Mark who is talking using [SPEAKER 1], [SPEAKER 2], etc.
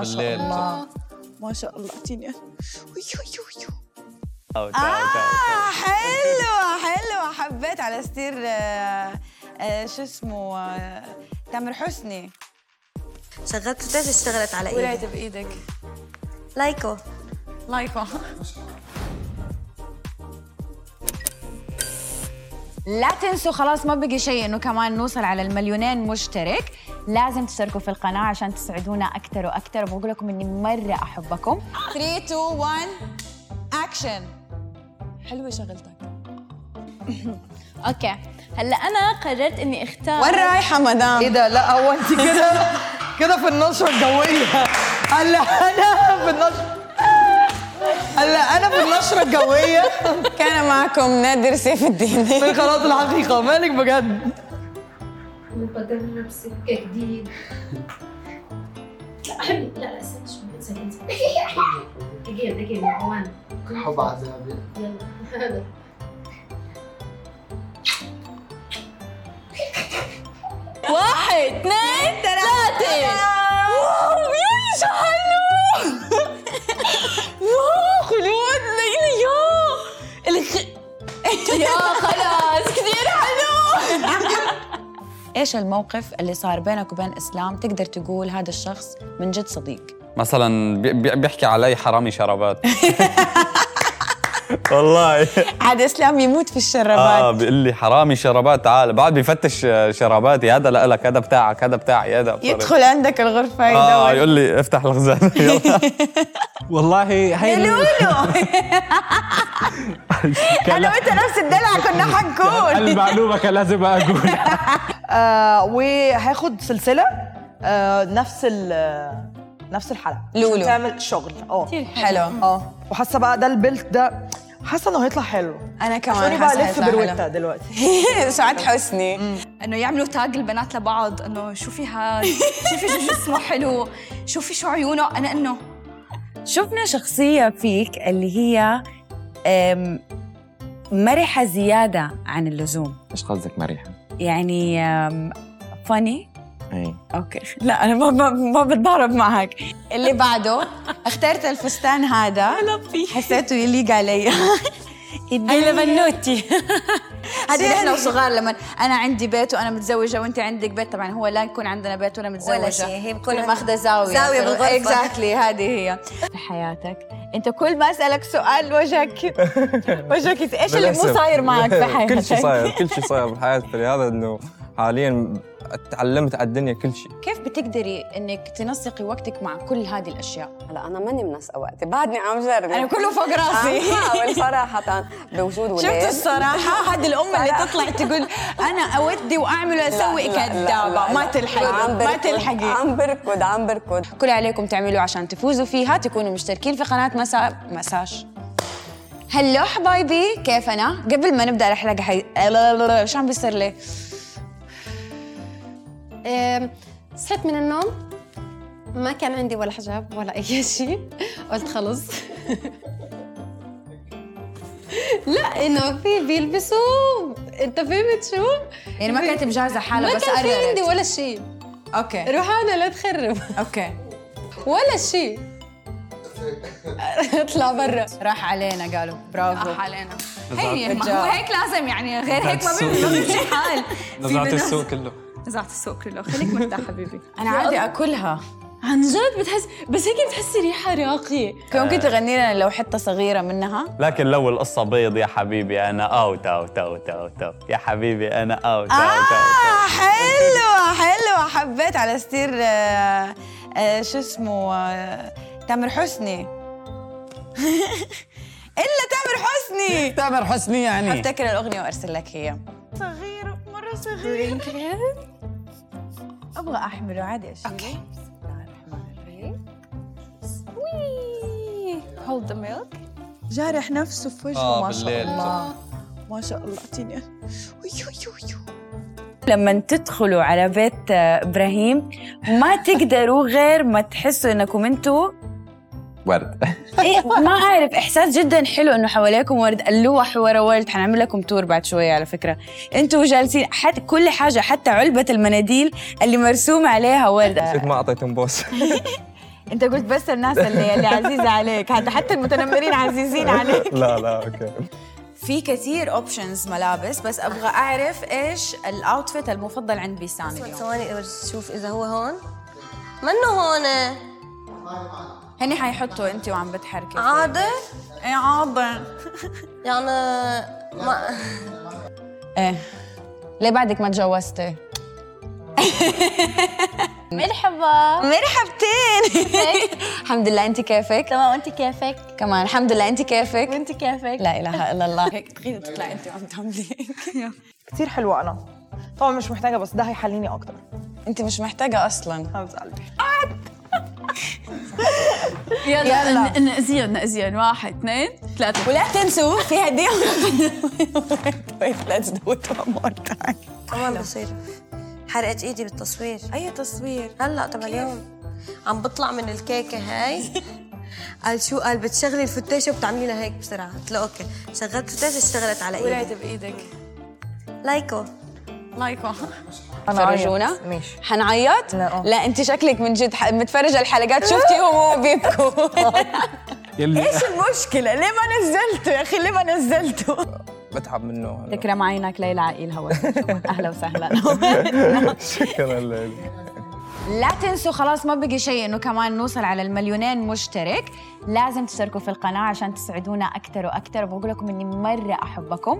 [SPEAKER 1] ما شاء
[SPEAKER 2] بالليل
[SPEAKER 1] الله ما شاء الله اعطيني أنا. ويو يو يو
[SPEAKER 3] تعالوا
[SPEAKER 4] آه حلوة حلوة حبيت على ستير آه، آه، شو اسمه آه، تامر حسني
[SPEAKER 5] شغلت بتعرفي اشتغلت على ايدي
[SPEAKER 4] ولاية بإيدك
[SPEAKER 5] لايكو
[SPEAKER 4] لايكو لا تنسوا خلاص ما بقي شيء انه كمان نوصل على المليونين مشترك لازم تشتركوا في القناة عشان تسعدونا أكثر وأكثر وبقول لكم إني مرة أحبكم 3 2 1 أكشن
[SPEAKER 1] حلوه شغلتك
[SPEAKER 6] اوكي هلا انا قررت اني اختار
[SPEAKER 4] وين رايحة مدام؟
[SPEAKER 7] ايه ده لا هو انت كده كده في النشره الجويه هلا انا في النشره هلا انا في النشره الجويه
[SPEAKER 4] كان معكم نادر سيف الدين
[SPEAKER 7] في قناه الحقيقه مالك بجد
[SPEAKER 8] مقدمة بسكة جديد لا أحب لا لا استنى شوي سكت أجين أجين عوان
[SPEAKER 9] الحب عذاب
[SPEAKER 8] يلا هذا
[SPEAKER 6] واحد اثنين ثلاثة
[SPEAKER 4] واو يا حلو واو خلود ليلى يا
[SPEAKER 6] يا خلاص كثير
[SPEAKER 4] ايش الموقف اللي صار بينك وبين اسلام تقدر تقول هذا الشخص من جد صديق
[SPEAKER 2] مثلا بي- بي- بيحكي علي حرامي شرابات
[SPEAKER 3] والله
[SPEAKER 4] عاد اسلام يموت في
[SPEAKER 3] اه
[SPEAKER 4] الشرابات
[SPEAKER 3] بيقول لي حرامي شرابات تعال بعد بيفتش آه، شراباتي هذا لا لك هذا بتاعك هذا بتاعي هذا
[SPEAKER 4] يدخل عندك الغرفة
[SPEAKER 3] اه
[SPEAKER 4] يدور
[SPEAKER 3] يقول لي افتح الخزانه يلا
[SPEAKER 9] والله هي
[SPEAKER 4] انا وانت نفس الدلع كنا حنكون
[SPEAKER 9] المعلومة كان لازم أقول
[SPEAKER 7] آه وهاخد سلسله آه نفس ال نفس الحلقه
[SPEAKER 4] لولو.
[SPEAKER 7] تعمل شغل اه
[SPEAKER 4] حلو
[SPEAKER 7] اه وحاسه بقى ده البلت ده حاسه انه هيطلع حلو
[SPEAKER 4] انا
[SPEAKER 7] شوفي
[SPEAKER 4] كمان
[SPEAKER 7] بقى
[SPEAKER 4] اه، حاسة
[SPEAKER 7] لف
[SPEAKER 4] حيطلع حلو.
[SPEAKER 7] بروتة دلوقتي
[SPEAKER 4] سعاد حسني
[SPEAKER 10] انه يعملوا تاج البنات لبعض انه شوفي هاد شوفي شو جسمه حلو شوفي شو عيونه انا انه
[SPEAKER 4] شفنا شخصية فيك اللي هي أم، مرحة زيادة عن اللزوم
[SPEAKER 9] إيش قصدك مريحة؟
[SPEAKER 4] يعني فاني
[SPEAKER 9] إي
[SPEAKER 4] اوكي لا انا ما ما, ما بتضارب معك اللي بعده اخترت الفستان هذا حسيته يليق علي انا بنوتي
[SPEAKER 10] هذه احنا وصغار لما انا عندي بيت وانا متزوجه وانت عندك بيت طبعا هو لا يكون عندنا بيت ولا متزوجه
[SPEAKER 5] ولا شيء هي
[SPEAKER 10] كل
[SPEAKER 5] بكل
[SPEAKER 10] ماخذه زاويه
[SPEAKER 5] زاوية بالغرفة.
[SPEAKER 10] اكزاكتلي هذه هي
[SPEAKER 4] في حياتك انت كل ما اسالك سؤال وجهك وجهك يت- ايش اللي مو صاير معك في حياتك
[SPEAKER 2] كل شيء صاير كل شيء صاير بحياتي لهذا انه حاليا تعلمت على الدنيا كل شيء
[SPEAKER 4] كيف بتقدري انك تنسقي وقتك مع كل هذه الاشياء
[SPEAKER 10] هلا انا ماني منسقه وقتي بعدني عم جرب انا كله فوق راسي صراحه بوجود
[SPEAKER 4] شفتوا الصراحة هذه الأم اللي تطلع تقول أنا أودي وأعمل وأسوي كدابة ما تلحقي ما تلحقي
[SPEAKER 10] عم بركض عم بركض
[SPEAKER 4] كل عليكم تعملوا عشان تفوزوا فيها تكونوا مشتركين في قناة مسا مساج هلو حبايبي كيف أنا؟ قبل ما نبدأ الحلقة حي... شو عم بيصير لي؟
[SPEAKER 6] أم، صحيت من النوم ما كان عندي ولا حجاب ولا اي شيء قلت خلص لا انه في بيلبسوا انت فهمت شو؟
[SPEAKER 4] يعني ما كانت مجهزة حالها
[SPEAKER 6] ما
[SPEAKER 4] بس
[SPEAKER 6] كان في عندي
[SPEAKER 4] قررت
[SPEAKER 6] ولا شيء
[SPEAKER 4] أوكي
[SPEAKER 6] روحانا لا تخرب
[SPEAKER 4] أوكي
[SPEAKER 6] ولا شيء اطلع برا
[SPEAKER 4] راح علينا قالوا برافو
[SPEAKER 10] حالنا هي إيه، ما هو هيك لازم يعني غير هيك ما
[SPEAKER 2] نزعت
[SPEAKER 10] بيمشي حال
[SPEAKER 2] نزعت السوق كله
[SPEAKER 10] نزعت السوق كله خليك مرتاح حبيبي
[SPEAKER 4] أنا عادي أكلها
[SPEAKER 6] عن جد بتحس بس هيك بتحسي ريحه راقيه
[SPEAKER 4] ممكن تغني لنا لو حتة صغيرة منها؟
[SPEAKER 3] لكن لو القصه بيض يا حبيبي انا اوت اوت اوت اوت أوت. يا حبيبي انا اوت اوت اوت
[SPEAKER 4] آه، حلوة حلوة حبيت على ستير آه، آه، شو اسمه آه، تامر حسني إلا تامر
[SPEAKER 3] إيه.
[SPEAKER 4] حسني
[SPEAKER 7] تامر حسني يعني
[SPEAKER 4] أفتكر الأغنية وأرسل لك هي أبغى أحمله عادي أشيله أوكي
[SPEAKER 10] هولد ذا ميلك
[SPEAKER 1] جارح نفسه في وجهه
[SPEAKER 2] آه،
[SPEAKER 1] ما شاء
[SPEAKER 2] بالليل.
[SPEAKER 1] الله ما شاء الله اعطيني أنا. ويو يو يو
[SPEAKER 4] لما تدخلوا على بيت آه، إبراهيم ما تقدروا غير ما تحسوا إنكم أنتوا
[SPEAKER 3] ورد
[SPEAKER 4] إيه ما اعرف احساس جدا حلو انه حواليكم ورد اللوح ورا ورد حنعمل لكم تور بعد شويه على فكره انتوا جالسين حتى كل حاجه حتى علبه المناديل اللي مرسوم عليها ورد
[SPEAKER 2] ما اعطيتهم بوس
[SPEAKER 4] انت قلت بس الناس اللي اللي عزيزه عليك حتى حتى المتنمرين عزيزين عليك
[SPEAKER 2] لا لا اوكي
[SPEAKER 10] في كثير اوبشنز ملابس بس ابغى اعرف ايش الاوتفيت المفضل عند بيسان
[SPEAKER 5] بس
[SPEAKER 10] اليوم
[SPEAKER 5] ثواني بس شوف اذا هو هون منه هون
[SPEAKER 10] هني حيحطوا انت وعم بتحركي
[SPEAKER 4] آه.
[SPEAKER 5] عادة
[SPEAKER 10] ايه عاضة
[SPEAKER 5] يعني ما
[SPEAKER 4] ايه ليه بعدك ما تجوزتي؟
[SPEAKER 11] مرحبا
[SPEAKER 4] مرحبتين الحمد لله انت كيفك؟
[SPEAKER 11] تمام وانت كيفك؟
[SPEAKER 4] كمان الحمد لله انت كيفك؟
[SPEAKER 11] وانت كيفك؟
[SPEAKER 4] لا اله الا الله هيك تخيلي تطلع انت وعم تعملي هيك.
[SPEAKER 7] كتير حلوة أنا طبعا مش محتاجة بس ده هيحليني أكتر
[SPEAKER 4] انت مش محتاجه اصلا
[SPEAKER 7] حبيبة قلبي
[SPEAKER 11] يلا ن- نأذيهم نأذيهم واحد اثنين ثلاثة
[SPEAKER 4] ولا تنسوا في هديه Wait, let's do it one more time.
[SPEAKER 5] كمان بصير حرقت ايدي بالتصوير
[SPEAKER 10] اي تصوير
[SPEAKER 5] هلا طب اليوم عم بطلع من الكيكة هاي قال شو قال بتشغلي الفتاشة وبتعملي لها هيك بسرعة قلت له اوكي شغلت فتاشة اشتغلت على ايدي
[SPEAKER 11] طلعت بإيدك
[SPEAKER 5] لايكو
[SPEAKER 11] لايكو
[SPEAKER 4] فرجونا
[SPEAKER 7] ماشي
[SPEAKER 4] حنعيط؟
[SPEAKER 7] لا.
[SPEAKER 4] لا انت شكلك من جد ح- متفرجه الحلقات شفتيهم وهو بيبكوا
[SPEAKER 9] يلي
[SPEAKER 4] ايش المشكله؟ ليه ما نزلته يا اخي ليه ما نزلته؟
[SPEAKER 2] بتعب منه هلا.
[SPEAKER 4] تكرم عينك ليلى عقيل هوا اهلا وسهلا
[SPEAKER 2] شكرا لك
[SPEAKER 4] لا تنسوا خلاص ما بقي شيء انه كمان نوصل على المليونين مشترك لازم تشتركوا في القناه عشان تسعدونا اكثر واكثر وبقول لكم اني مره احبكم